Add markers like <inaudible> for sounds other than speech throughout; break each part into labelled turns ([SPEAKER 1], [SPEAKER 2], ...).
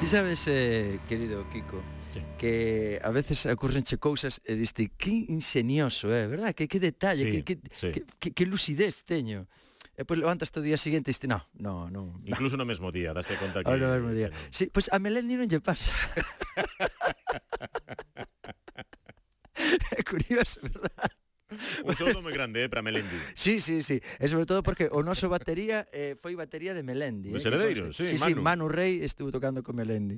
[SPEAKER 1] Ti sabes, eh, querido Kiko,
[SPEAKER 2] Sí.
[SPEAKER 1] que a veces ocurrenche cousas e diste que ingenioso, é, eh, verdad? Que que detalle,
[SPEAKER 2] Sí,
[SPEAKER 1] que, que,
[SPEAKER 2] sí.
[SPEAKER 1] que, que, que lucidez teño. E pois levantas o día siguiente e diste, no, no, no.
[SPEAKER 2] Incluso no mesmo día, daste conta que...
[SPEAKER 1] Ao Ah, no mesmo día.
[SPEAKER 2] que non.
[SPEAKER 1] Sí, pois a Melendi non lle pasa. <laughs> é curioso, verdad?
[SPEAKER 2] Un saúdo moi grande, eh, para Melendi.
[SPEAKER 1] Sí, sí, sí. E sobre todo porque o noso batería eh, foi batería de Melendi. eh,
[SPEAKER 2] Dos
[SPEAKER 1] que
[SPEAKER 2] heredeiros,
[SPEAKER 1] conste.
[SPEAKER 2] sí,
[SPEAKER 1] sí,
[SPEAKER 2] Manu.
[SPEAKER 1] Manu Rey estuvo tocando con Melendi.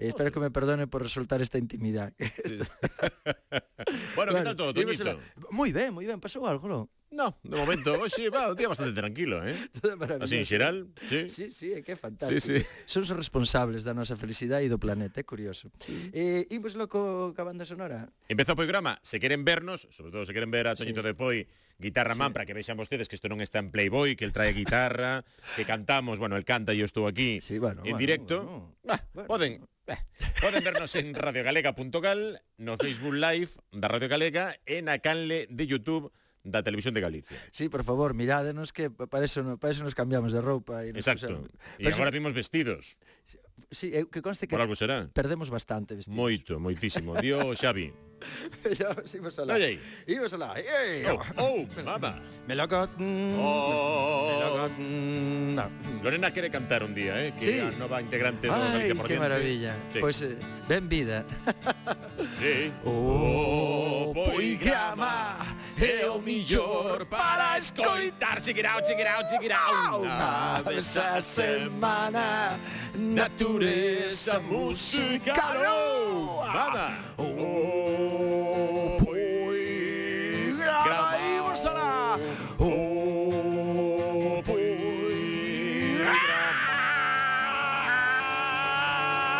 [SPEAKER 1] Eh, espero que me perdone por resultar esta <laughs> intimidad.
[SPEAKER 2] Bueno, que
[SPEAKER 1] Bueno,
[SPEAKER 2] tal todo,
[SPEAKER 1] dímosela.
[SPEAKER 2] Toñito?
[SPEAKER 1] Moi ben, moi ben, pasou algo, non?
[SPEAKER 2] No, de momento, <laughs> hoxe, va, un día bastante tranquilo, eh?
[SPEAKER 1] <laughs> Todo maravilloso.
[SPEAKER 2] Así, en xeral, sí.
[SPEAKER 1] Sí, sí, é que é fantástico.
[SPEAKER 2] Sí, sí.
[SPEAKER 1] Son os responsables da nosa felicidade e do planeta, é curioso. Eh, imos loco ca banda sonora.
[SPEAKER 2] Empeza o programa, se queren vernos, sobre todo se queren ver a Toñito de Poi, guitarra man, para que vexan vostedes que isto non está en Playboy, que el trae guitarra, que cantamos, bueno, el canta, yo estou aquí
[SPEAKER 1] Sí, bueno,
[SPEAKER 2] en
[SPEAKER 1] bueno,
[SPEAKER 2] directo.
[SPEAKER 1] bueno.
[SPEAKER 2] Bah,
[SPEAKER 1] Bueno.
[SPEAKER 2] poden, bah, poden vernos en radiogalega.gal, no Facebook Live da Radio Galega e na canle de YouTube da Televisión de Galicia.
[SPEAKER 1] Sí, por favor, mirádenos que pa- para eso, no- para eso nos cambiamos de roupa e nos
[SPEAKER 2] Exacto.
[SPEAKER 1] pusemos-
[SPEAKER 2] E
[SPEAKER 1] Pero
[SPEAKER 2] agora vimos vestidos,
[SPEAKER 1] sí, sí, eh, que conste que
[SPEAKER 2] por algo será.
[SPEAKER 1] perdemos bastante vestidos.
[SPEAKER 2] Moito, moitísimo. Dio Xavi.
[SPEAKER 1] <laughs> ya, os imos alá.
[SPEAKER 2] Dalle aí.
[SPEAKER 1] Imos alá. Eh,
[SPEAKER 2] Oh, oh, mama.
[SPEAKER 1] Melocotón.
[SPEAKER 2] Oh.
[SPEAKER 1] Melocotón. No.
[SPEAKER 2] Lorena quere cantar un día, eh? Que
[SPEAKER 1] Sí.
[SPEAKER 2] a nova integrante do
[SPEAKER 1] Ai,
[SPEAKER 2] Galicia por
[SPEAKER 1] que
[SPEAKER 2] Diante.
[SPEAKER 1] maravilla.
[SPEAKER 2] Sí.
[SPEAKER 1] Pois eh, ben vida.
[SPEAKER 2] Sí.
[SPEAKER 1] O
[SPEAKER 2] poigrama é o millor para escoitar Check it out, check it out, check it out Unha vez a semana Natureza musical oh, Mama
[SPEAKER 1] Ah.
[SPEAKER 2] O poigrama Imos alá O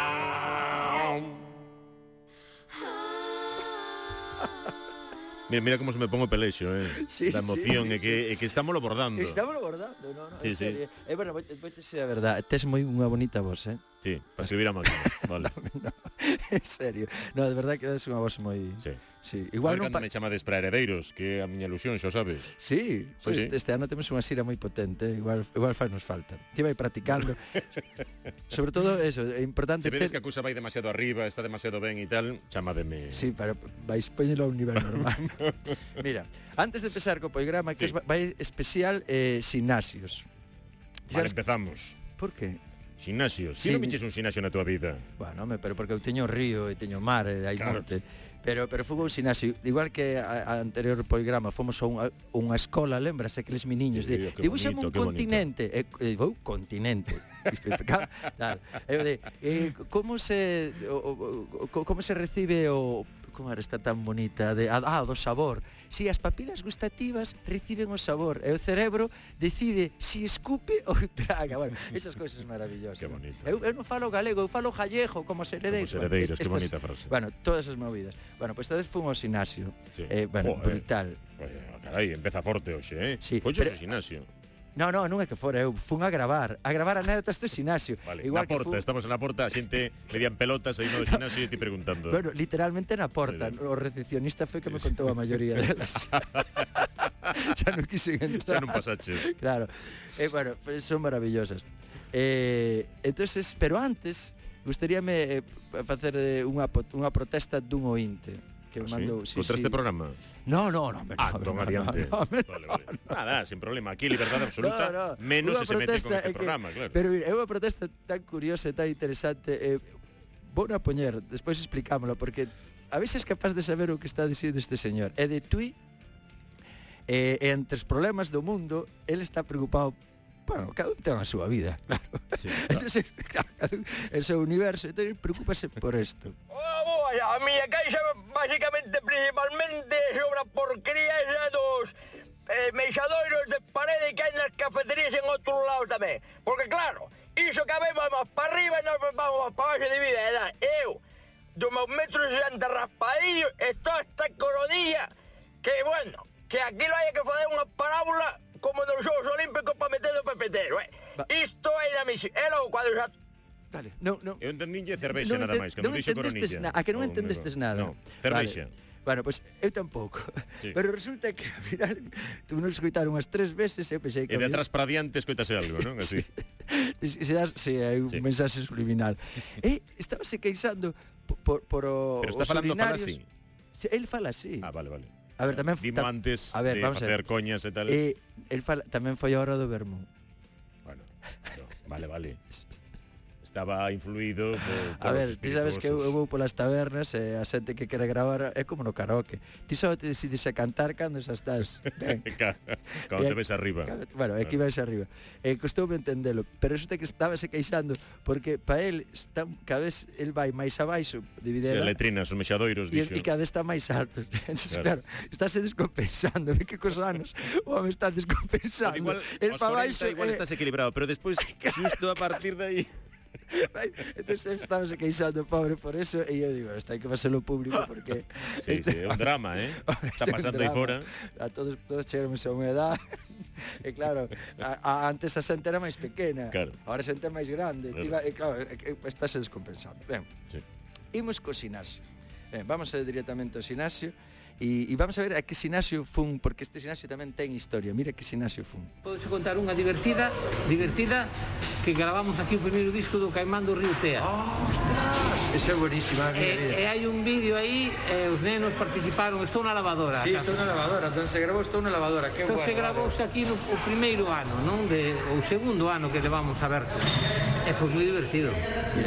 [SPEAKER 2] poigrama Mira, mira como se me pongo pelexo, eh.
[SPEAKER 1] Sí,
[SPEAKER 2] da emoción,
[SPEAKER 1] sí,
[SPEAKER 2] é que, é que estamos abordando.
[SPEAKER 1] Estamos abordando, no, no, en
[SPEAKER 2] Sí, sí.
[SPEAKER 1] serio. Eh, É bueno, vou vou te ser a verdade, tes moi unha bonita voz, <laughs> eh?
[SPEAKER 2] Sí, para escribir a máquina. Vale.
[SPEAKER 1] <laughs> en serio. No, de verdade que tes unha voz moi
[SPEAKER 2] Sí.
[SPEAKER 1] Sí, igual
[SPEAKER 2] Igual
[SPEAKER 1] non pa...
[SPEAKER 2] cando me chamades para heredeiros, que é a miña ilusión, xa sabes.
[SPEAKER 1] Sí, pois
[SPEAKER 2] Sí.
[SPEAKER 1] pues este ano temos unha xira moi potente, eh, igual igual fai nos falta. Ti vai
[SPEAKER 2] <laughs>
[SPEAKER 1] practicando. Sobre todo eso, é importante
[SPEAKER 2] Se vedes
[SPEAKER 1] ter-
[SPEAKER 2] que a cousa vai demasiado arriba, está demasiado ben e tal, chamademe.
[SPEAKER 1] Sí, pero vais poñelo a un nivel
[SPEAKER 2] <laughs>
[SPEAKER 1] normal. Mira, antes de empezar co programa, que
[SPEAKER 2] Sí.
[SPEAKER 1] sí. vai especial eh, sinasios. Ti
[SPEAKER 2] Vale,
[SPEAKER 1] sabes
[SPEAKER 2] empezamos.
[SPEAKER 1] Por que?
[SPEAKER 2] Xinasios. Si
[SPEAKER 1] Sí, mi-
[SPEAKER 2] non viches un xinasio na túa vida.
[SPEAKER 1] Bueno, home, pero porque eu teño río e teño mar e hai claro.
[SPEAKER 2] Claro.
[SPEAKER 1] monte. Pero pero fomos un sinasio, igual que a, a anterior programa, fomos a unha, unha escola, lembrase aqueles miniños
[SPEAKER 2] Sí,
[SPEAKER 1] de
[SPEAKER 2] oh, que
[SPEAKER 1] dibuixame
[SPEAKER 2] bonito,
[SPEAKER 1] un
[SPEAKER 2] que bonito."
[SPEAKER 1] continente, e, e vou continente. <laughs> Claro. E eu de, eh, como se o, o, o, co- como se recibe o como era esta tan bonita de ah, ah, do sabor. Si as papilas gustativas reciben o sabor e o cerebro decide si escupe <laughs> ou traga. Bueno, esas cousas maravillosas.
[SPEAKER 2] Que bonito.
[SPEAKER 1] Eu, eu non falo galego, eu falo gallego como se heredeiros.
[SPEAKER 2] Como os heredeiros, que
[SPEAKER 1] estas-
[SPEAKER 2] bonita frase.
[SPEAKER 1] Bueno, todas as movidas. Bueno, pois pues, esta vez fomos ao sinasio.
[SPEAKER 2] Sí.
[SPEAKER 1] Eh, bueno,
[SPEAKER 2] Joder.
[SPEAKER 1] brutal.
[SPEAKER 2] Oye, carai, empeza forte hoxe, eh?
[SPEAKER 1] Sí,
[SPEAKER 2] Foches
[SPEAKER 1] pero-
[SPEAKER 2] ao xinasio.
[SPEAKER 1] No, no, non é que fora, eu fun a gravar, a gravar anécdotas do sinasio.
[SPEAKER 2] Vale, Igual na
[SPEAKER 1] que
[SPEAKER 2] porta, estamos na porta, a xente media en pelotas aí no xinasio e ti preguntando.
[SPEAKER 1] Bueno, literalmente na porta,
[SPEAKER 2] Muy bien.
[SPEAKER 1] o recepcionista foi que
[SPEAKER 2] Sí,
[SPEAKER 1] me
[SPEAKER 2] sí.
[SPEAKER 1] contou a maioría
[SPEAKER 2] <laughs>
[SPEAKER 1] delas. <laughs> Xa non quixen
[SPEAKER 2] Xa
[SPEAKER 1] entrar.
[SPEAKER 2] non pasaches.
[SPEAKER 1] Claro. Eh, bueno, pues son maravillosas. Eh, entonces, pero antes gustaríame eh, pa- facer eh, unha po- unha protesta dun ointe que
[SPEAKER 2] Ah, sí?
[SPEAKER 1] mandou.
[SPEAKER 2] Contra este programa.
[SPEAKER 1] No, no, no, hombre,
[SPEAKER 2] Ah,
[SPEAKER 1] no, hombre,
[SPEAKER 2] don
[SPEAKER 1] no,
[SPEAKER 2] Ariante.
[SPEAKER 1] no, no, hombre,
[SPEAKER 2] vale, vale. Nada, sin problema. Aquí libertad absoluta,
[SPEAKER 1] No, no,
[SPEAKER 2] menos
[SPEAKER 1] unha
[SPEAKER 2] si se mete con
[SPEAKER 1] protesta
[SPEAKER 2] este
[SPEAKER 1] é que-
[SPEAKER 2] programa, claro.
[SPEAKER 1] Pero mira, é unha protesta tan curiosa e tan interesante. Eh, vou a poñer, despois explicámoslo, porque a veces capaz de saber o que está dicindo este señor. É de Tui, eh, e entre os problemas do mundo, ele está preocupado Bueno, cada un ten a súa vida,
[SPEAKER 2] <laughs>
[SPEAKER 1] claro.
[SPEAKER 2] Sí,
[SPEAKER 1] Entonces, claro, cada un- el seu universo, entonces preocúpase por isto.
[SPEAKER 3] Vamos, a mi caixa básicamente, principalmente sobre a porquería esa dos eh, meixadoiros de parede que hai nas cafeterías en outros lados tamén. Porque claro, iso que vemos máis para arriba e nós vamos máis para baixo de vida. E da, eu, dos meus metros e santa raspadillo, estou esta coronilla, que bueno, que aquí non hai que fazer unha parábola como dos Xogos Olímpicos para meter o pepetero, eh.
[SPEAKER 1] Va-
[SPEAKER 3] Isto é na misión. E logo, cando xa
[SPEAKER 1] Vale, non, non.
[SPEAKER 2] Eu entendinlle cervexa
[SPEAKER 1] Non
[SPEAKER 2] nada
[SPEAKER 1] enten-
[SPEAKER 2] máis, cando
[SPEAKER 1] non
[SPEAKER 2] dixo
[SPEAKER 1] entendestes
[SPEAKER 2] coronilla.
[SPEAKER 1] na- a que non
[SPEAKER 2] Oh,
[SPEAKER 1] entendestes
[SPEAKER 2] amigo.
[SPEAKER 1] nada?
[SPEAKER 2] No, cervexa.
[SPEAKER 1] Vale. Bueno, pois pues, eu tampouco. Sí.
[SPEAKER 2] Sí.
[SPEAKER 1] Pero resulta que ao final tu non escoitar unhas tres veces, eu pensei
[SPEAKER 2] E
[SPEAKER 1] que
[SPEAKER 2] de atrás para diante escoitase algo, non? Así.
[SPEAKER 1] <laughs> se, se, das, se hai un sí.
[SPEAKER 2] Sí.
[SPEAKER 1] mensaxe subliminal. e estábase queixando por, por, por o,
[SPEAKER 2] Pero está
[SPEAKER 1] os
[SPEAKER 2] falando fala
[SPEAKER 1] urinarios.
[SPEAKER 2] así.
[SPEAKER 1] Sí, Él fala así.
[SPEAKER 2] Ah, vale, vale.
[SPEAKER 1] A ver, tamén
[SPEAKER 2] Dimo antes
[SPEAKER 1] a ver,
[SPEAKER 2] de
[SPEAKER 1] vamos a ver.
[SPEAKER 2] facer coñas e tal.
[SPEAKER 1] Eh, el fala, tamén foi a hora do Bermú.
[SPEAKER 2] Bueno, no, vale, vale. Estaba influído por, por
[SPEAKER 1] A ver,
[SPEAKER 2] os
[SPEAKER 1] ti sabes que eu, eu vou polas tabernas e a xente que quere gravar é como no karaoke. Ti só te decides a cantar cando xa estás. Ben.
[SPEAKER 2] Ca- Cando te
[SPEAKER 1] Eh,
[SPEAKER 2] ves arriba.
[SPEAKER 1] Bueno, aquí vais arriba. E costoume entendelo, pero resulta que estábase queixando porque para el está cada vez el vai máis abaixo de
[SPEAKER 2] Se a
[SPEAKER 1] videla.
[SPEAKER 2] letrina, os mexadoiros,
[SPEAKER 1] E,
[SPEAKER 2] dixo.
[SPEAKER 1] e cada vez está máis alto. <laughs> Entonces, claro.
[SPEAKER 2] Claro.
[SPEAKER 1] claro, estáse descompensando. Ve que cos anos o home está descompensando.
[SPEAKER 2] Igual,
[SPEAKER 1] el
[SPEAKER 2] aos
[SPEAKER 1] pa
[SPEAKER 2] 40
[SPEAKER 1] baixo,
[SPEAKER 2] igual
[SPEAKER 1] eh,
[SPEAKER 2] estás equilibrado,
[SPEAKER 1] <laughs>
[SPEAKER 2] pero despois, xusto a partir de aí...
[SPEAKER 1] Vai, Entonces estábase queixando, pobre, por eso E eu digo, está hai que facelo público porque
[SPEAKER 2] <laughs> Sí, sí, é un drama,
[SPEAKER 1] <laughs>
[SPEAKER 2] eh?
[SPEAKER 1] É
[SPEAKER 2] Está
[SPEAKER 1] un
[SPEAKER 2] pasando aí
[SPEAKER 1] drama.
[SPEAKER 2] fora.
[SPEAKER 1] A todos, todos chegamos a unha <laughs> edad E Eh, claro, a, a, antes a xente era máis pequena
[SPEAKER 2] Claro.
[SPEAKER 1] Ahora a xente é máis grande
[SPEAKER 2] Claro.
[SPEAKER 1] claro. Tiba, E claro, e- e- estáse descompensando Ben,
[SPEAKER 2] Sí.
[SPEAKER 1] imos co sinasio ben, Vamos a directamente ao sinasio E, e vamos a ver a que sinasio fun Porque este sinasio tamén ten historia Mira que sinasio fun
[SPEAKER 4] Podes contar unha divertida, divertida que gravamos aquí o primeiro disco do Caimán do Río Tea.
[SPEAKER 1] Oh, Esa é buenísima
[SPEAKER 4] e, e hai un vídeo aí, e os nenos participaron, estou na lavadora.
[SPEAKER 1] Sí, estou na lavadora, entón se grabou estou na lavadora, que
[SPEAKER 4] Isto se gravouse aquí no o primeiro ano, non? De, o segundo ano que levamos aberto. E foi moi divertido,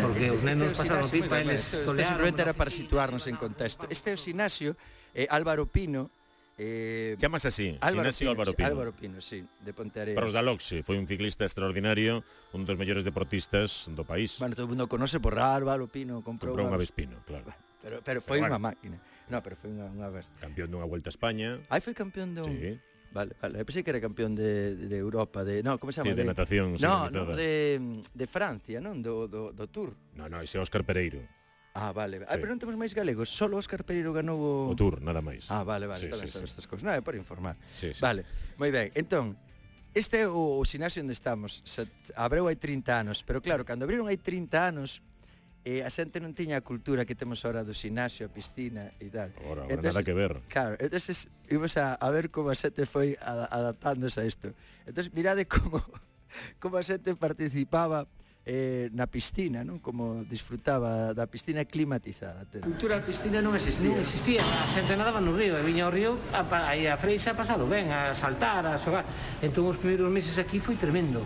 [SPEAKER 4] porque os nenos pasaron pipa, eles
[SPEAKER 1] Este
[SPEAKER 4] tolearon.
[SPEAKER 1] simplemente era para situarnos en contexto. Este é o Sinasio, eh, Álvaro Pino, eh,
[SPEAKER 2] Chamas así, Sinasio Álvaro Pino.
[SPEAKER 1] Álvaro Pino, sí, de Ponteareas.
[SPEAKER 2] Para os da Loxe, foi un ciclista extraordinario, un dos mellores deportistas do país.
[SPEAKER 1] Bueno, todo o mundo conoce por Álvaro Pino, comprou,
[SPEAKER 2] Comprou unha vez Pino, claro.
[SPEAKER 1] Pero, pero foi
[SPEAKER 2] Pero
[SPEAKER 1] unha
[SPEAKER 2] bueno.
[SPEAKER 1] máquina. No, pero foi unha, unha vez.
[SPEAKER 2] Campeón dunha Vuelta a España.
[SPEAKER 1] Aí foi campeón de un...
[SPEAKER 2] Sí.
[SPEAKER 1] Vale, vale. Eu pensei que era campeón de, de Europa, de... No, como se
[SPEAKER 2] Sí,
[SPEAKER 1] chama?
[SPEAKER 2] de natación
[SPEAKER 1] No,
[SPEAKER 2] sincronizada.
[SPEAKER 1] no, de, de Francia, non? Do, do, do Tour.
[SPEAKER 2] No, no, ese é Óscar Pereiro.
[SPEAKER 1] Ah, vale. Ai,
[SPEAKER 2] Sí.
[SPEAKER 1] pero non temos máis galegos. Solo Óscar Pereiro ganou o...
[SPEAKER 2] O Tour, nada máis.
[SPEAKER 1] Oh. Ah, vale, vale,
[SPEAKER 2] Sí,
[SPEAKER 1] está ben,
[SPEAKER 2] sí,
[SPEAKER 1] saber
[SPEAKER 2] sí.
[SPEAKER 1] estas cousas. Non, é por informar.
[SPEAKER 2] Sí, sí.
[SPEAKER 1] Vale, moi ben. Entón, este é o, o sinasio onde estamos. Se, abreu hai 30 anos, pero claro, cando abriron hai 30 anos, eh, a xente non tiña a cultura que temos ahora do sinasio, a piscina e tal.
[SPEAKER 2] Ora, ora, nada que ver.
[SPEAKER 1] Claro, entonces íbamos a, a ver como a xente foi a- adaptándose a isto. Entonces mirade como <laughs> como a xente participaba eh, na piscina, non? Como disfrutaba da piscina climatizada.
[SPEAKER 4] cultura piscina non existía. Non existía, a xente nadaba no río, e viña ao río a, pa- aí a Freixa a pasalo ben, a saltar, a xogar. Entón os primeiros meses aquí foi tremendo,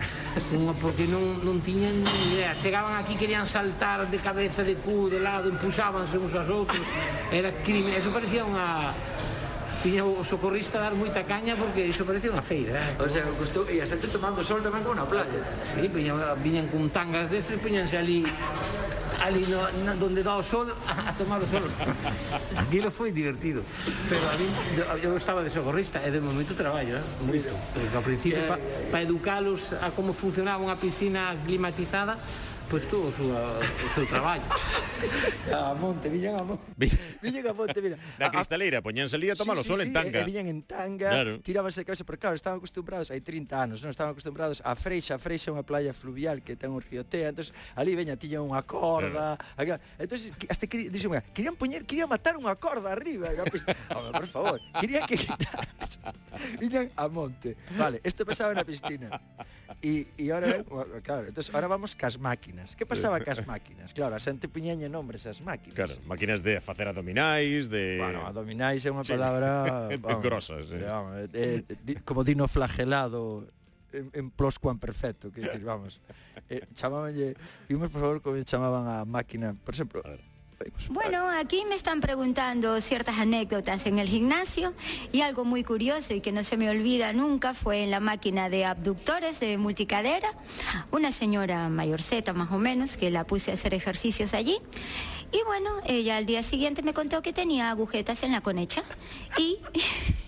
[SPEAKER 4] non, porque non, non tiñan ni idea. Chegaban aquí, querían saltar de cabeza, de cu, de lado, empuxábanse uns aos outros. Era crime, eso parecía unha... Tiña o socorrista a dar moita caña porque iso parecía unha feira. eh.
[SPEAKER 1] O sea, costou, e a xente tomando sol tamén como na playa.
[SPEAKER 4] Sí, viñan, viñan con tangas destes, poñanse ali ali no, na, donde dá o sol a, a tomar o sol. Aquilo foi divertido, pero a mí, eu estaba de socorrista e de momento traballo, eh? moito, porque ao principio pa, pa educalos a como funcionaba unha piscina climatizada, pois tú o, súa, o seu traballo.
[SPEAKER 1] A monte, viñan a monte. <laughs> Viñan a monte, mira.
[SPEAKER 2] Na
[SPEAKER 1] A- a-
[SPEAKER 2] cristalera, pues poñanse ali a tomar
[SPEAKER 1] Ah,
[SPEAKER 2] o
[SPEAKER 1] Sí, sí,
[SPEAKER 2] sol
[SPEAKER 1] sí,
[SPEAKER 2] en
[SPEAKER 1] E,
[SPEAKER 2] tanga.
[SPEAKER 1] e viñan en tanga,
[SPEAKER 2] Claro.
[SPEAKER 1] claro. tirábanse de cabeza, porque claro, estaban acostumbrados, hai 30 anos, non estaban acostumbrados a Freixa, a Freixa é unha playa fluvial que ten un río Tea, entonces ali veña tiña unha corda, claro. entonces que- hasta que dixen, "Mira, querían poñer, querían matar unha corda arriba, e pues, <laughs> "Home, por favor, querían que quitar. <laughs> viñan a monte. Vale, isto pasaba na piscina. E e ahora, ven, bueno, claro, entonces ahora vamos cas máquinas. Que pasaba cas máquinas? Claro, a xente puñaña nombres ás máquinas.
[SPEAKER 2] Claro, máquinas de facer abdominais, de...
[SPEAKER 1] Bueno, abdominais é unha
[SPEAKER 2] Eh, Sí. <laughs>
[SPEAKER 1] palabra...
[SPEAKER 2] Grosa, sí.
[SPEAKER 1] vamos, eh, eh, di- como dino flagelado en, en ploscuan perfecto, que decir,
[SPEAKER 2] <laughs>
[SPEAKER 1] vamos. Eh, chamábanlle... Vimos, por favor, como chamaban a máquina. Por exemplo...
[SPEAKER 2] ver.
[SPEAKER 1] vimos-
[SPEAKER 5] Bueno, aquí me están preguntando ciertas anécdotas en el gimnasio y algo muy curioso y que no se me olvida nunca fue en la máquina de abductores de multicadera, una señora mayorceta más o menos que la puse a hacer ejercicios allí y bueno, ella al día siguiente me contó que tenía agujetas en la conecha y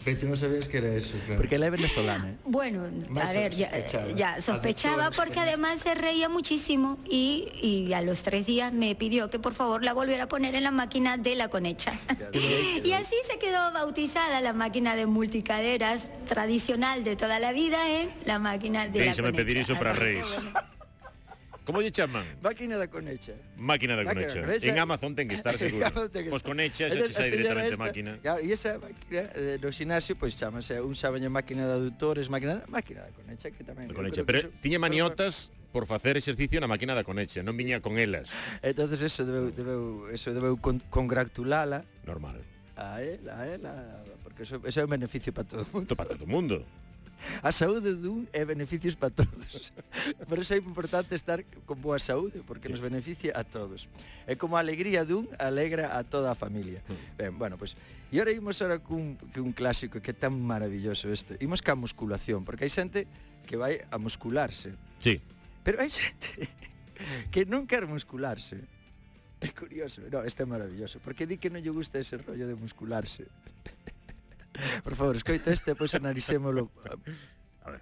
[SPEAKER 6] Que tú no sabías que era eso, claro.
[SPEAKER 1] Porque ela é venezolana, eh?
[SPEAKER 5] Bueno,
[SPEAKER 6] Más
[SPEAKER 5] a ver, ya
[SPEAKER 6] sospechaba.
[SPEAKER 5] ya sospechaba porque además se reía muchísimo y, y a los tres días me pidió que por favor la volviera a poner en la máquina de la conecha. <laughs> y así se quedó bautizada la máquina de multicaderas tradicional de toda la vida, ¿eh? La máquina de la
[SPEAKER 2] Déixame
[SPEAKER 5] conecha.
[SPEAKER 2] pedir iso para
[SPEAKER 5] Así que,
[SPEAKER 2] Reis.
[SPEAKER 5] bueno.
[SPEAKER 2] Como lle chaman?
[SPEAKER 1] Máquina da conecha.
[SPEAKER 2] Máquina da
[SPEAKER 1] Máquina da
[SPEAKER 2] conecha.
[SPEAKER 1] conexa.
[SPEAKER 2] En Amazon ten que
[SPEAKER 1] <laughs>
[SPEAKER 2] estar seguro. Pues
[SPEAKER 1] Amazon ten que
[SPEAKER 2] Pois
[SPEAKER 1] estar. <laughs>
[SPEAKER 2] conecha, xa
[SPEAKER 1] Entón,
[SPEAKER 2] che sai
[SPEAKER 1] a señora
[SPEAKER 2] directamente
[SPEAKER 1] esta,
[SPEAKER 2] máquina.
[SPEAKER 1] claro, E esa máquina eh, no xinasio, pois chamase, un chábanlle máquina de aductores, máquina, máquina da conecha, que tamén...
[SPEAKER 2] Da
[SPEAKER 1] eu
[SPEAKER 2] conecha,
[SPEAKER 1] creo que
[SPEAKER 2] pero
[SPEAKER 1] iso-
[SPEAKER 2] tiña maniotas por facer exercicio na máquina da conecha, non viña con elas.
[SPEAKER 1] Entonces eso debeu, debeu, eso debeu con, congratulala
[SPEAKER 2] Normal.
[SPEAKER 1] a ela, a ela, porque eso, eso é un beneficio para todo <laughs> o mundo.
[SPEAKER 2] Isto para todo o mundo.
[SPEAKER 1] A saúde dun é beneficios para todos. <laughs> Por eso é importante estar con boa saúde, porque sí. nos beneficia a todos. É como a alegría dun alegra a toda a familia. Ben, bueno, pois, pues, e ora imos ora cun, cun clásico que é tan maravilloso este. Imos ca musculación, porque hai xente que vai a muscularse.
[SPEAKER 2] Sí.
[SPEAKER 1] Pero hai xente <laughs> que non quer muscularse. É curioso. No, este é maravilloso. Porque di que non lle gusta ese rollo de muscularse. <laughs> Por favor, escoita este, pois analisémolo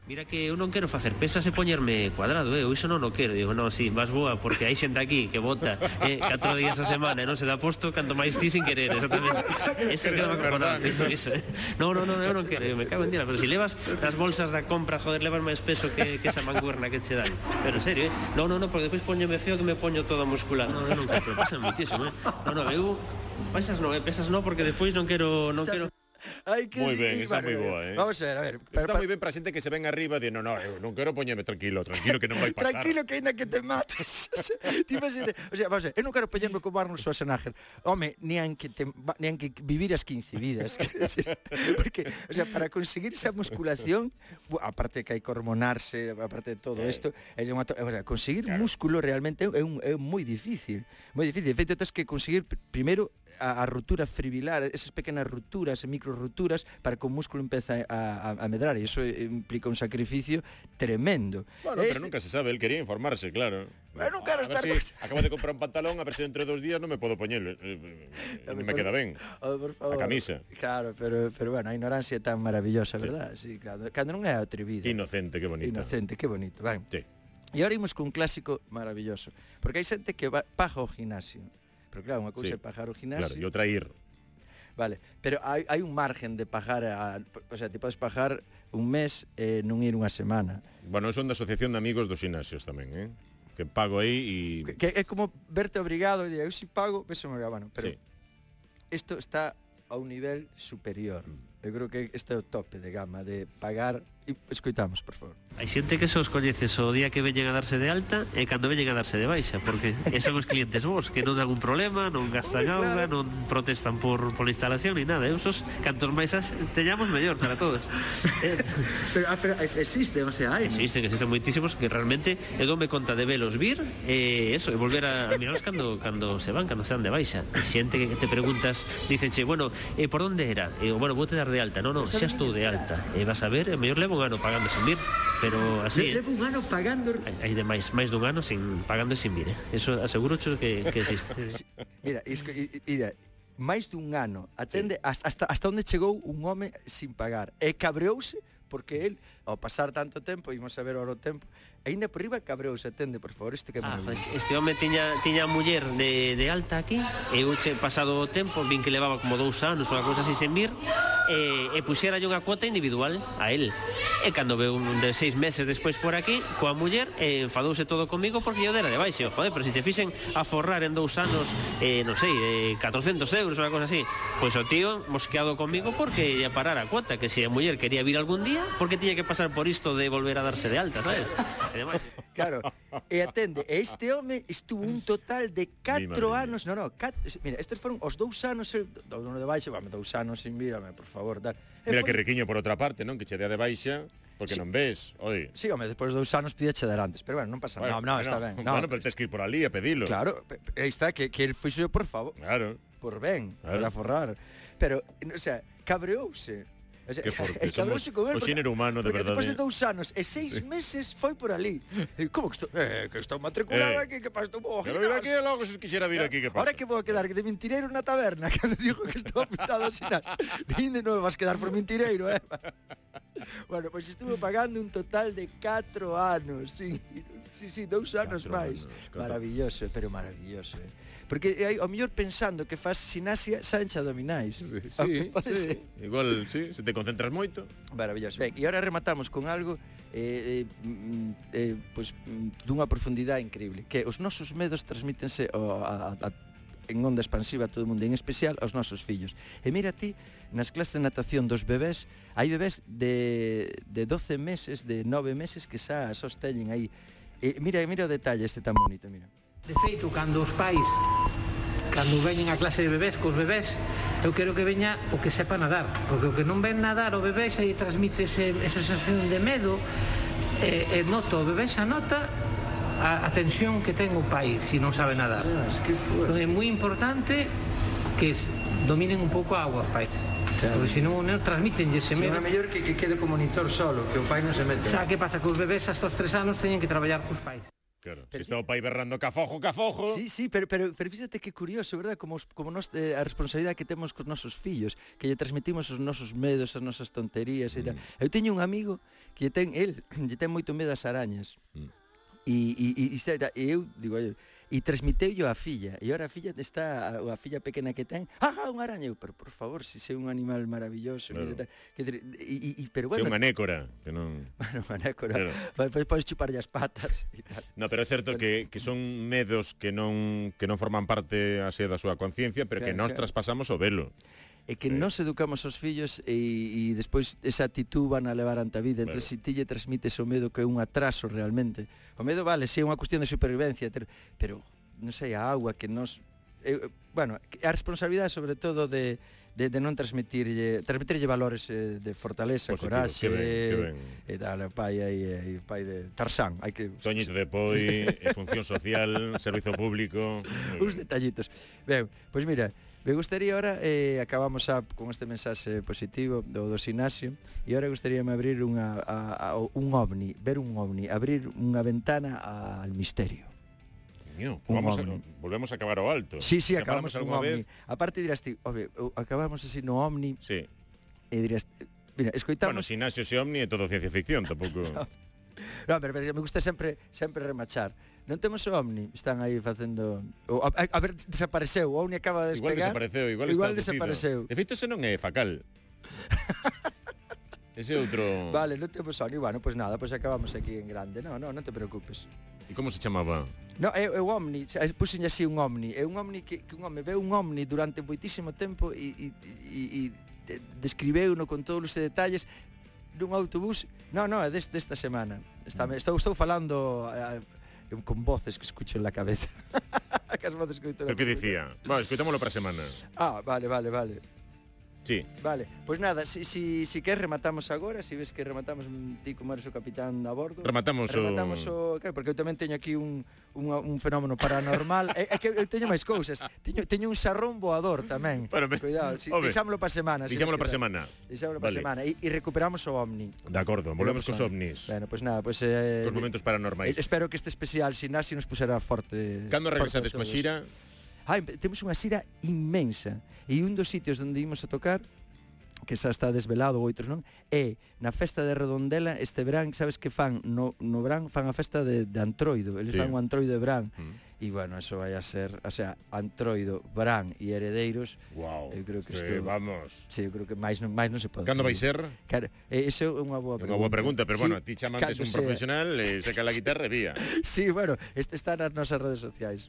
[SPEAKER 7] Mira que eu non quero facer pesas e poñerme cuadrado, eu iso non o quero. Digo, non, si, sí, vas boa, porque hai xente aquí que vota eh, catro días a semana e non se dá posto, canto máis ti sin querer, exactamente. Eso que
[SPEAKER 2] Eso é
[SPEAKER 7] non me
[SPEAKER 2] verdade,
[SPEAKER 7] conformante, iso, iso. eh. Non, non, non, eu non quero, eu me cago en dira, pero si levas as bolsas da compra, joder, levas máis peso que, que esa manguerna que che dan. Pero en serio, eh? Non, non, non, porque depois poñome feo que me poño todo muscular. Non, non, non, pero pasa muitísimo, eh? Non, non, eu... Pesas non, eh? pesas non, porque depois non quero... Non quero...
[SPEAKER 1] Hai que
[SPEAKER 2] Moi ben,
[SPEAKER 1] dicir,
[SPEAKER 2] esa é
[SPEAKER 1] bueno,
[SPEAKER 2] moi boa, eh.
[SPEAKER 1] Vamos a ver, a ver. pero
[SPEAKER 2] Está
[SPEAKER 1] pa-
[SPEAKER 2] moi ben para xente que se ven arriba e di, no, no, eu non quero poñerme tranquilo, tranquilo que non vai pasar.
[SPEAKER 1] Tranquilo que ainda que te mates. <laughs> Tipo así de- o sea, vamos a ver, eu non quero poñerme como Arnold Schwarzenegger. Home, ni an que te, va- ni an que vivir as 15 vidas, <laughs> quer decir, porque o sea, para conseguir esa musculación, bu- aparte que hai que hormonarse, aparte de todo isto, é unha to- o sea, conseguir
[SPEAKER 2] Claro.
[SPEAKER 1] músculo realmente é un é moi difícil, moi difícil. De feito, tes que conseguir pr- primeiro a, a ruptura fibrilar, esas pequenas rupturas, e micro rupturas para que o músculo empeza a, a, a medrar, e iso eh, implica un sacrificio tremendo.
[SPEAKER 2] Bueno,
[SPEAKER 1] E
[SPEAKER 2] pero nunca se sabe, el quería informarse, claro.
[SPEAKER 1] Eu non quero
[SPEAKER 2] A ver
[SPEAKER 1] estar
[SPEAKER 2] si
[SPEAKER 1] máis-
[SPEAKER 2] Acabo de comprar un pantalón, a ver se dentro de dos días non me podo poñelo. eh, eh, Non me queda ben.
[SPEAKER 1] Oh, por favor.
[SPEAKER 2] A camisa.
[SPEAKER 1] Claro, pero, pero bueno, a ignorancia é tan maravillosa, verdad? Sí, claro. Cando non é atrevido.
[SPEAKER 2] Que inocente, que bonito.
[SPEAKER 1] Inocente, que bonito. Ben.
[SPEAKER 2] Sí.
[SPEAKER 1] E ahora imos cun clásico maravilloso. Porque hai xente que va, paga o gimnasio. Pero claro, unha cousa
[SPEAKER 2] Sí.
[SPEAKER 1] é pagar o
[SPEAKER 2] Claro,
[SPEAKER 1] gimnasio.
[SPEAKER 2] e outra ir.
[SPEAKER 1] Vale, pero hai, hai un margen de pagar, a, o sea, te podes pagar un mes e eh, non ir unha semana.
[SPEAKER 2] Bueno, eu son da Asociación de Amigos dos Gimnasios tamén, eh? Que pago aí e...
[SPEAKER 1] Que, que é como verte obrigado e dir, eu si pago, peso me bueno, pero
[SPEAKER 2] Sí.
[SPEAKER 1] isto está a un nivel superior. Eu creo que este é o tope de gama de pagar e escoitamos, por favor.
[SPEAKER 7] Hai xente que se os coñeces o día que veñen a darse de alta e cando veñen a darse de baixa, porque <laughs> esos son os clientes vos, que non dan un problema, non gastan
[SPEAKER 1] Home, claro.
[SPEAKER 7] auga, non protestan por pola instalación ni nada, eu sos cantos máis as teñamos mellor para todos. Eh,
[SPEAKER 1] Pero, ah, pero existe, o sea, hai.
[SPEAKER 7] existen, existen moitísimos que realmente eu dome conta de velos vir e eso, e volver a, a miraros cando, cando se van, cando sean de baixa. Hai Xente que te preguntas, dicenche, bueno, eh, por onde era? E eu, bueno, vou te dar de alta. No, no, xa estou de alta. E vas a ver, e mellor levo un ano pagando sen vir, pero así... eh.
[SPEAKER 1] un ano pagando
[SPEAKER 7] Hai, hai de máis máis dun ano sin pagando e sin vir, eh? Eso aseguro que, que existe.
[SPEAKER 1] Mira, isco, i- i- mira, máis dun ano atende sí. hasta hasta onde chegou un home sin pagar. E cabreouse porque el ao pasar tanto tempo, imos a ver ahora o tempo, aínda por riba cabreouse, atende, por favor, isto que é
[SPEAKER 7] Ah,
[SPEAKER 1] maravilloso.
[SPEAKER 7] pues, este home tiña tiña a muller de, de alta aquí e eu che pasado o tempo vin que levaba como dous anos unha cousa así sen vir e, e puxera unha cuota individual a él e cando veu un de seis meses despois por aquí coa muller e enfadouse todo comigo porque eu dera de baixo joder, pero se te fixen a forrar en dous anos eh, non sei, eh, 400 euros unha cousa así pois o tío mosqueado comigo porque ia parar a cuota que se a muller quería vir algún día porque tiña que pasar por isto de volver a darse de alta, sabes? E demais.
[SPEAKER 1] Claro, e atende, e este home estuvo un total de 4
[SPEAKER 2] madre
[SPEAKER 1] anos, no, no, cat, mira, estes foron os dous anos, el, do dono de baixa, vame, dous anos sin mírame, por favor, dar. E
[SPEAKER 2] Mira que
[SPEAKER 1] foi-
[SPEAKER 2] riquiño por outra parte, non? Que che dea de baixa, porque
[SPEAKER 1] Sí.
[SPEAKER 2] non ves. Oi.
[SPEAKER 1] Sí, home, despois dos dous anos pidíache dar antes, pero bueno, non pasa nada, no, no, está
[SPEAKER 2] <laughs>
[SPEAKER 1] ben. No,
[SPEAKER 2] Bueno, pero tens que ir por ali a pedilo.
[SPEAKER 1] Claro, pe- pe- aí está, que, que el fuixo por favor,
[SPEAKER 2] Claro.
[SPEAKER 1] por ben,
[SPEAKER 2] Claro.
[SPEAKER 1] para forrar. Pero, o sea, cabreouse. O sea, <laughs>
[SPEAKER 2] Que forte,
[SPEAKER 1] e cabreouse
[SPEAKER 2] somos
[SPEAKER 1] con él,
[SPEAKER 2] o xénero humano, de
[SPEAKER 1] porque Despois
[SPEAKER 2] verdade.
[SPEAKER 1] de dous anos e seis sí. meses foi por ali. E, Como que estou, eh, que estou matriculado
[SPEAKER 2] Eh.
[SPEAKER 1] aquí, que pasto vou ao
[SPEAKER 2] Pero vir aquí
[SPEAKER 1] gimnasio.
[SPEAKER 2] e logo se quixera vir aquí, que pasa?
[SPEAKER 1] Ahora que vou a quedar de mentireiro na taberna <laughs> Que me dijo que estaba apuntado a sinar Din de novo vas quedar por mentireiro <laughs> eh? Bueno, pois pues estuve pagando un total de 4 anos sin ir. Sí, sí, dous anos
[SPEAKER 2] Catro
[SPEAKER 1] máis.
[SPEAKER 2] anos, catro-
[SPEAKER 1] Maravilloso, pero maravilloso. eh. Porque hai ao mellor pensando que fas sinasia Sancha dominais. <laughs>
[SPEAKER 2] Sí,
[SPEAKER 1] Pode Ah,
[SPEAKER 2] sí.
[SPEAKER 1] ser.
[SPEAKER 2] Igual, sí, se te concentras moito.
[SPEAKER 1] Maravilloso. Ben, e agora rematamos con algo eh, eh, mm, eh, pois, mm, dunha profundidade increíble, que os nosos medos transmítense ao, a, a, en onda expansiva a todo o mundo, en especial aos nosos fillos. E mira ti, nas clases de natación dos bebés, hai bebés de, de 12 meses, de 9 meses que xa sosteñen aí. E mira, mira o detalle este tan bonito, mira.
[SPEAKER 7] De feito, cando os pais cando veñen a clase de bebés cos bebés, eu quero que veña o que sepa nadar, porque o que non ven nadar o bebé xa lle transmite ese, esa sensación de medo e, e nota, o bebé xa nota a, a tensión que ten o pai se non sabe nadar.
[SPEAKER 1] que fuerte.
[SPEAKER 7] Entón, é moi importante que s- dominen un pouco a agua os pais.
[SPEAKER 1] Claro.
[SPEAKER 7] Claro. Porque senón o neno transmiten ese
[SPEAKER 4] Pero
[SPEAKER 7] medo.
[SPEAKER 4] é mellor que, que quede como monitor solo, que o pai non se mete.
[SPEAKER 7] Xa que pasa que os bebés hasta os tres anos teñen que traballar cos pais.
[SPEAKER 2] Claro. Se está o pai berrando cafojo, cafojo.
[SPEAKER 1] Sí, sí, pero, pero, pero fíxate que curioso, verdad? Como, os- como nos, eh, a responsabilidade que temos cos nosos fillos, que lle transmitimos os nosos medos, as nosas tonterías e tal.
[SPEAKER 2] Mm.
[SPEAKER 1] Eu teño un amigo que lle ten, el, <clears throat> lle ten moito medo ás arañas.
[SPEAKER 2] Mm.
[SPEAKER 1] E, e, e, e, xa era- e eu digo, "Oye", e transmiteu a filla, e ahora a filla está, a, a filla pequena que ten, ah, ah, unha araña, eu, pero por favor, se si é un animal maravilloso,
[SPEAKER 2] Claro.
[SPEAKER 1] claro. que, e, e, pero
[SPEAKER 2] Se é
[SPEAKER 1] bueno,
[SPEAKER 2] unha nécora, que non...
[SPEAKER 1] <laughs> bueno, manécora,
[SPEAKER 2] Claro.
[SPEAKER 1] claro. podes, podes chuparlle as patas e tal.
[SPEAKER 2] No, pero é certo que, que son medos que non que non forman parte así da súa conciencia, pero que
[SPEAKER 1] Claro,
[SPEAKER 2] nos
[SPEAKER 1] claro.
[SPEAKER 2] traspasamos o velo.
[SPEAKER 1] É que nos educamos os fillos e, e despois esa actitud van a levar ante a vida. Entón,
[SPEAKER 2] Claro.
[SPEAKER 1] se ti lle transmites o medo que é un atraso realmente. O medo, vale, si é unha cuestión de supervivencia, ter, pero, non sei, a agua que nos... Eu, bueno, a responsabilidade sobre todo de, de, de non transmitirlle transmitirlle valores eh, de fortaleza,
[SPEAKER 2] Positivo,
[SPEAKER 1] coraxe,
[SPEAKER 2] que ben, que ben.
[SPEAKER 1] e tal, o pai aí, aí, o pai de Tarzán, hai que
[SPEAKER 2] Toñito
[SPEAKER 1] <laughs>
[SPEAKER 2] de poi, eh, función social, servizo público.
[SPEAKER 1] uns detallitos. Ben, pois mira, me gustaría ahora eh, acabamos a, con este mensaxe positivo do, do sinasio e ahora gustaríame abrir unha, a, a, un ovni, ver un ovni, abrir unha ventana a- al misterio.
[SPEAKER 2] Coño,
[SPEAKER 1] Un
[SPEAKER 2] vamos a,
[SPEAKER 1] ovni.
[SPEAKER 2] volvemos a acabar ao alto.
[SPEAKER 1] Sí, sí,
[SPEAKER 2] Se
[SPEAKER 1] acabamos
[SPEAKER 2] paramos
[SPEAKER 1] un ovni.
[SPEAKER 2] algunha
[SPEAKER 1] Aparte dirás ti, "Obe, o- acabamos así no ovni
[SPEAKER 2] Sí.
[SPEAKER 1] e dirás, mira,
[SPEAKER 2] Bueno,
[SPEAKER 1] escoitamos,
[SPEAKER 2] Sinasio e Omni é todo ciencia ficción,
[SPEAKER 1] <laughs>
[SPEAKER 2] tampouco.
[SPEAKER 1] no, pero, pero me gusta sempre sempre remachar. Non temos o ovni, están aí facendo o, a, a, a ver, desapareceu, o ovni acaba de
[SPEAKER 2] Igual
[SPEAKER 1] despegar.
[SPEAKER 2] desapareceu, igual,
[SPEAKER 1] igual
[SPEAKER 2] está abducido.
[SPEAKER 1] desapareceu.
[SPEAKER 2] De feito, ese non é facal.
[SPEAKER 1] <laughs>
[SPEAKER 2] Ese é outro...
[SPEAKER 1] Vale, non temos ovni, bueno, pois pues nada, pois pues acabamos aquí en grande. No, no, non te preocupes.
[SPEAKER 2] E como se chamaba?
[SPEAKER 1] No, é, é o Omni, xa- puxen así un Omni, é un Omni que, que un home veu un Omni durante moitísimo tempo e, e, e, e de- describeuno con todos os detalles nun autobús, no, no, é des, desta semana, está, estou, estou falando eh, con voces que escucho en la cabeza, <laughs> que as voces que
[SPEAKER 2] O que dicía? Bueno, escutámoslo para a semana.
[SPEAKER 1] Ah, vale, vale, vale.
[SPEAKER 2] Sí.
[SPEAKER 1] Vale, pois pues nada, si, si, si que rematamos agora, si ves que rematamos mm, ti como eres o capitán a bordo.
[SPEAKER 2] Rematamos o-
[SPEAKER 1] rematamos o... Claro, porque eu tamén teño aquí un, un, un fenómeno paranormal. <laughs> Eh, é, é que eu teño máis cousas. Teño, teño un sarrón voador tamén.
[SPEAKER 2] Pero me-
[SPEAKER 1] Cuidado, si,
[SPEAKER 2] Home,
[SPEAKER 1] deixámolo para semana. si
[SPEAKER 2] Dixámoslo
[SPEAKER 1] ves
[SPEAKER 2] para
[SPEAKER 1] que tal.
[SPEAKER 2] a semana.
[SPEAKER 1] Deixámoslo para
[SPEAKER 2] Vale.
[SPEAKER 1] semana. E, e recuperamos o Omni.
[SPEAKER 2] De acordo, volvemos cos
[SPEAKER 1] Recuperamos o
[SPEAKER 2] ovnis.
[SPEAKER 1] Bueno, pois pues nada, pois... Pues, eh,
[SPEAKER 2] Cos momentos
[SPEAKER 1] eh,
[SPEAKER 2] paranormais.
[SPEAKER 1] Espero que este especial Sinasi nos puxerá forte.
[SPEAKER 2] Cando
[SPEAKER 1] forte a
[SPEAKER 2] regresades coa
[SPEAKER 1] todos.
[SPEAKER 2] xira?
[SPEAKER 1] Ah, empe- temos unha xira inmensa e un dos sitios onde imos a tocar que xa está desvelado, outros non, é na festa de Redondela este verán, sabes que fan no, no verán fan a festa de, de Antroido, eles
[SPEAKER 2] Sí.
[SPEAKER 1] sí. fan o Antroido de verán.
[SPEAKER 2] Mm.
[SPEAKER 1] E bueno, eso vai a ser, o sea, Antroido, Brán e Heredeiros,
[SPEAKER 2] Wow.
[SPEAKER 1] Eu creo que
[SPEAKER 2] Sí,
[SPEAKER 1] isto-
[SPEAKER 2] Vamos.
[SPEAKER 1] sí, eu creo que máis non máis non se pode.
[SPEAKER 2] Cando vai
[SPEAKER 1] pedir.
[SPEAKER 2] ser?
[SPEAKER 1] Claro, eh, eso é unha boa
[SPEAKER 2] É
[SPEAKER 1] pregunta.
[SPEAKER 2] unha boa pregunta, pero bueno,
[SPEAKER 1] Sí,
[SPEAKER 2] ti chamantes
[SPEAKER 1] cando
[SPEAKER 2] un
[SPEAKER 1] sea.
[SPEAKER 2] profesional, eh, saca la guitarra e
[SPEAKER 1] <laughs>
[SPEAKER 2] vía.
[SPEAKER 1] Sí, bueno, este está nas nosas redes sociais.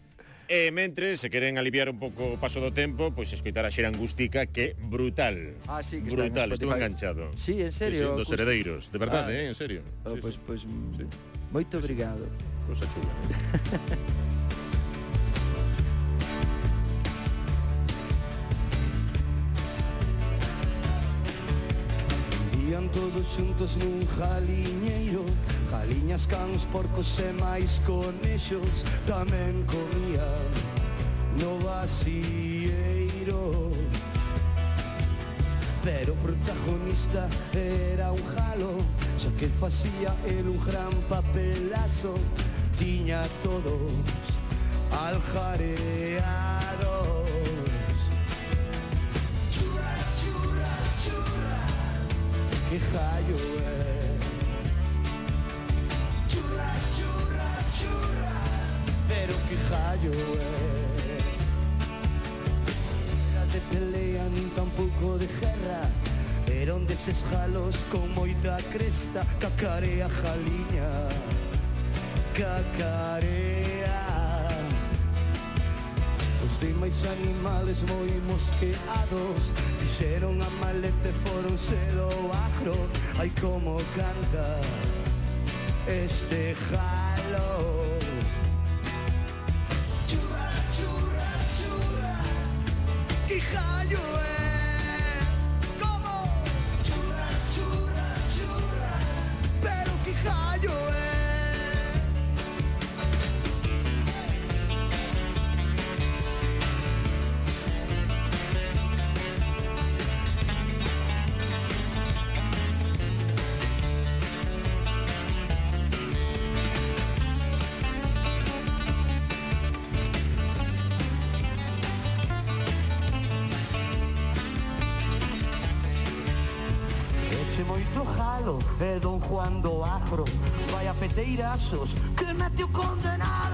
[SPEAKER 2] E Eh, mentre se queren aliviar un pouco o paso do tempo, pois escoitar a xera angústica que brutal.
[SPEAKER 1] Ah, sí, que está en
[SPEAKER 2] brutal, estou
[SPEAKER 1] Spotify.
[SPEAKER 2] enganchado.
[SPEAKER 1] Sí, en serio,
[SPEAKER 2] Sí, sí, dos
[SPEAKER 1] acústica.
[SPEAKER 2] heredeiros, de verdade,
[SPEAKER 1] Ah.
[SPEAKER 2] eh, en serio.
[SPEAKER 1] Oh,
[SPEAKER 2] Sí,
[SPEAKER 1] pois
[SPEAKER 2] sí,
[SPEAKER 1] pois
[SPEAKER 2] Sí.
[SPEAKER 1] mm, moito obrigado.
[SPEAKER 2] Cosa chula. eh.
[SPEAKER 8] Vivían todos xuntos nun jaliñeiro Jaliñas, cans, porcos e máis conexos Tamén comían no vasieiro Pero o protagonista era un jalo Xa que facía el un gran papelazo Tiña a todos aljareados Churra, churra, churra eh. que jallo é Churra, churra, churra llover Era de pelea nin tampouco de guerra Era un deses jalos con moita cresta Cacarea jaliña Cacarea Os demais animales moi mosqueados Fixeron a maleta e foronse do agro Ai como canta este jalo Churra, churra, churra. Hija llueve. ¿Cómo? Churra, churra, churra. Pero que hija llueve. Eche moito jalo e don Juan do Agro Vai a peteirasos que meteu condenado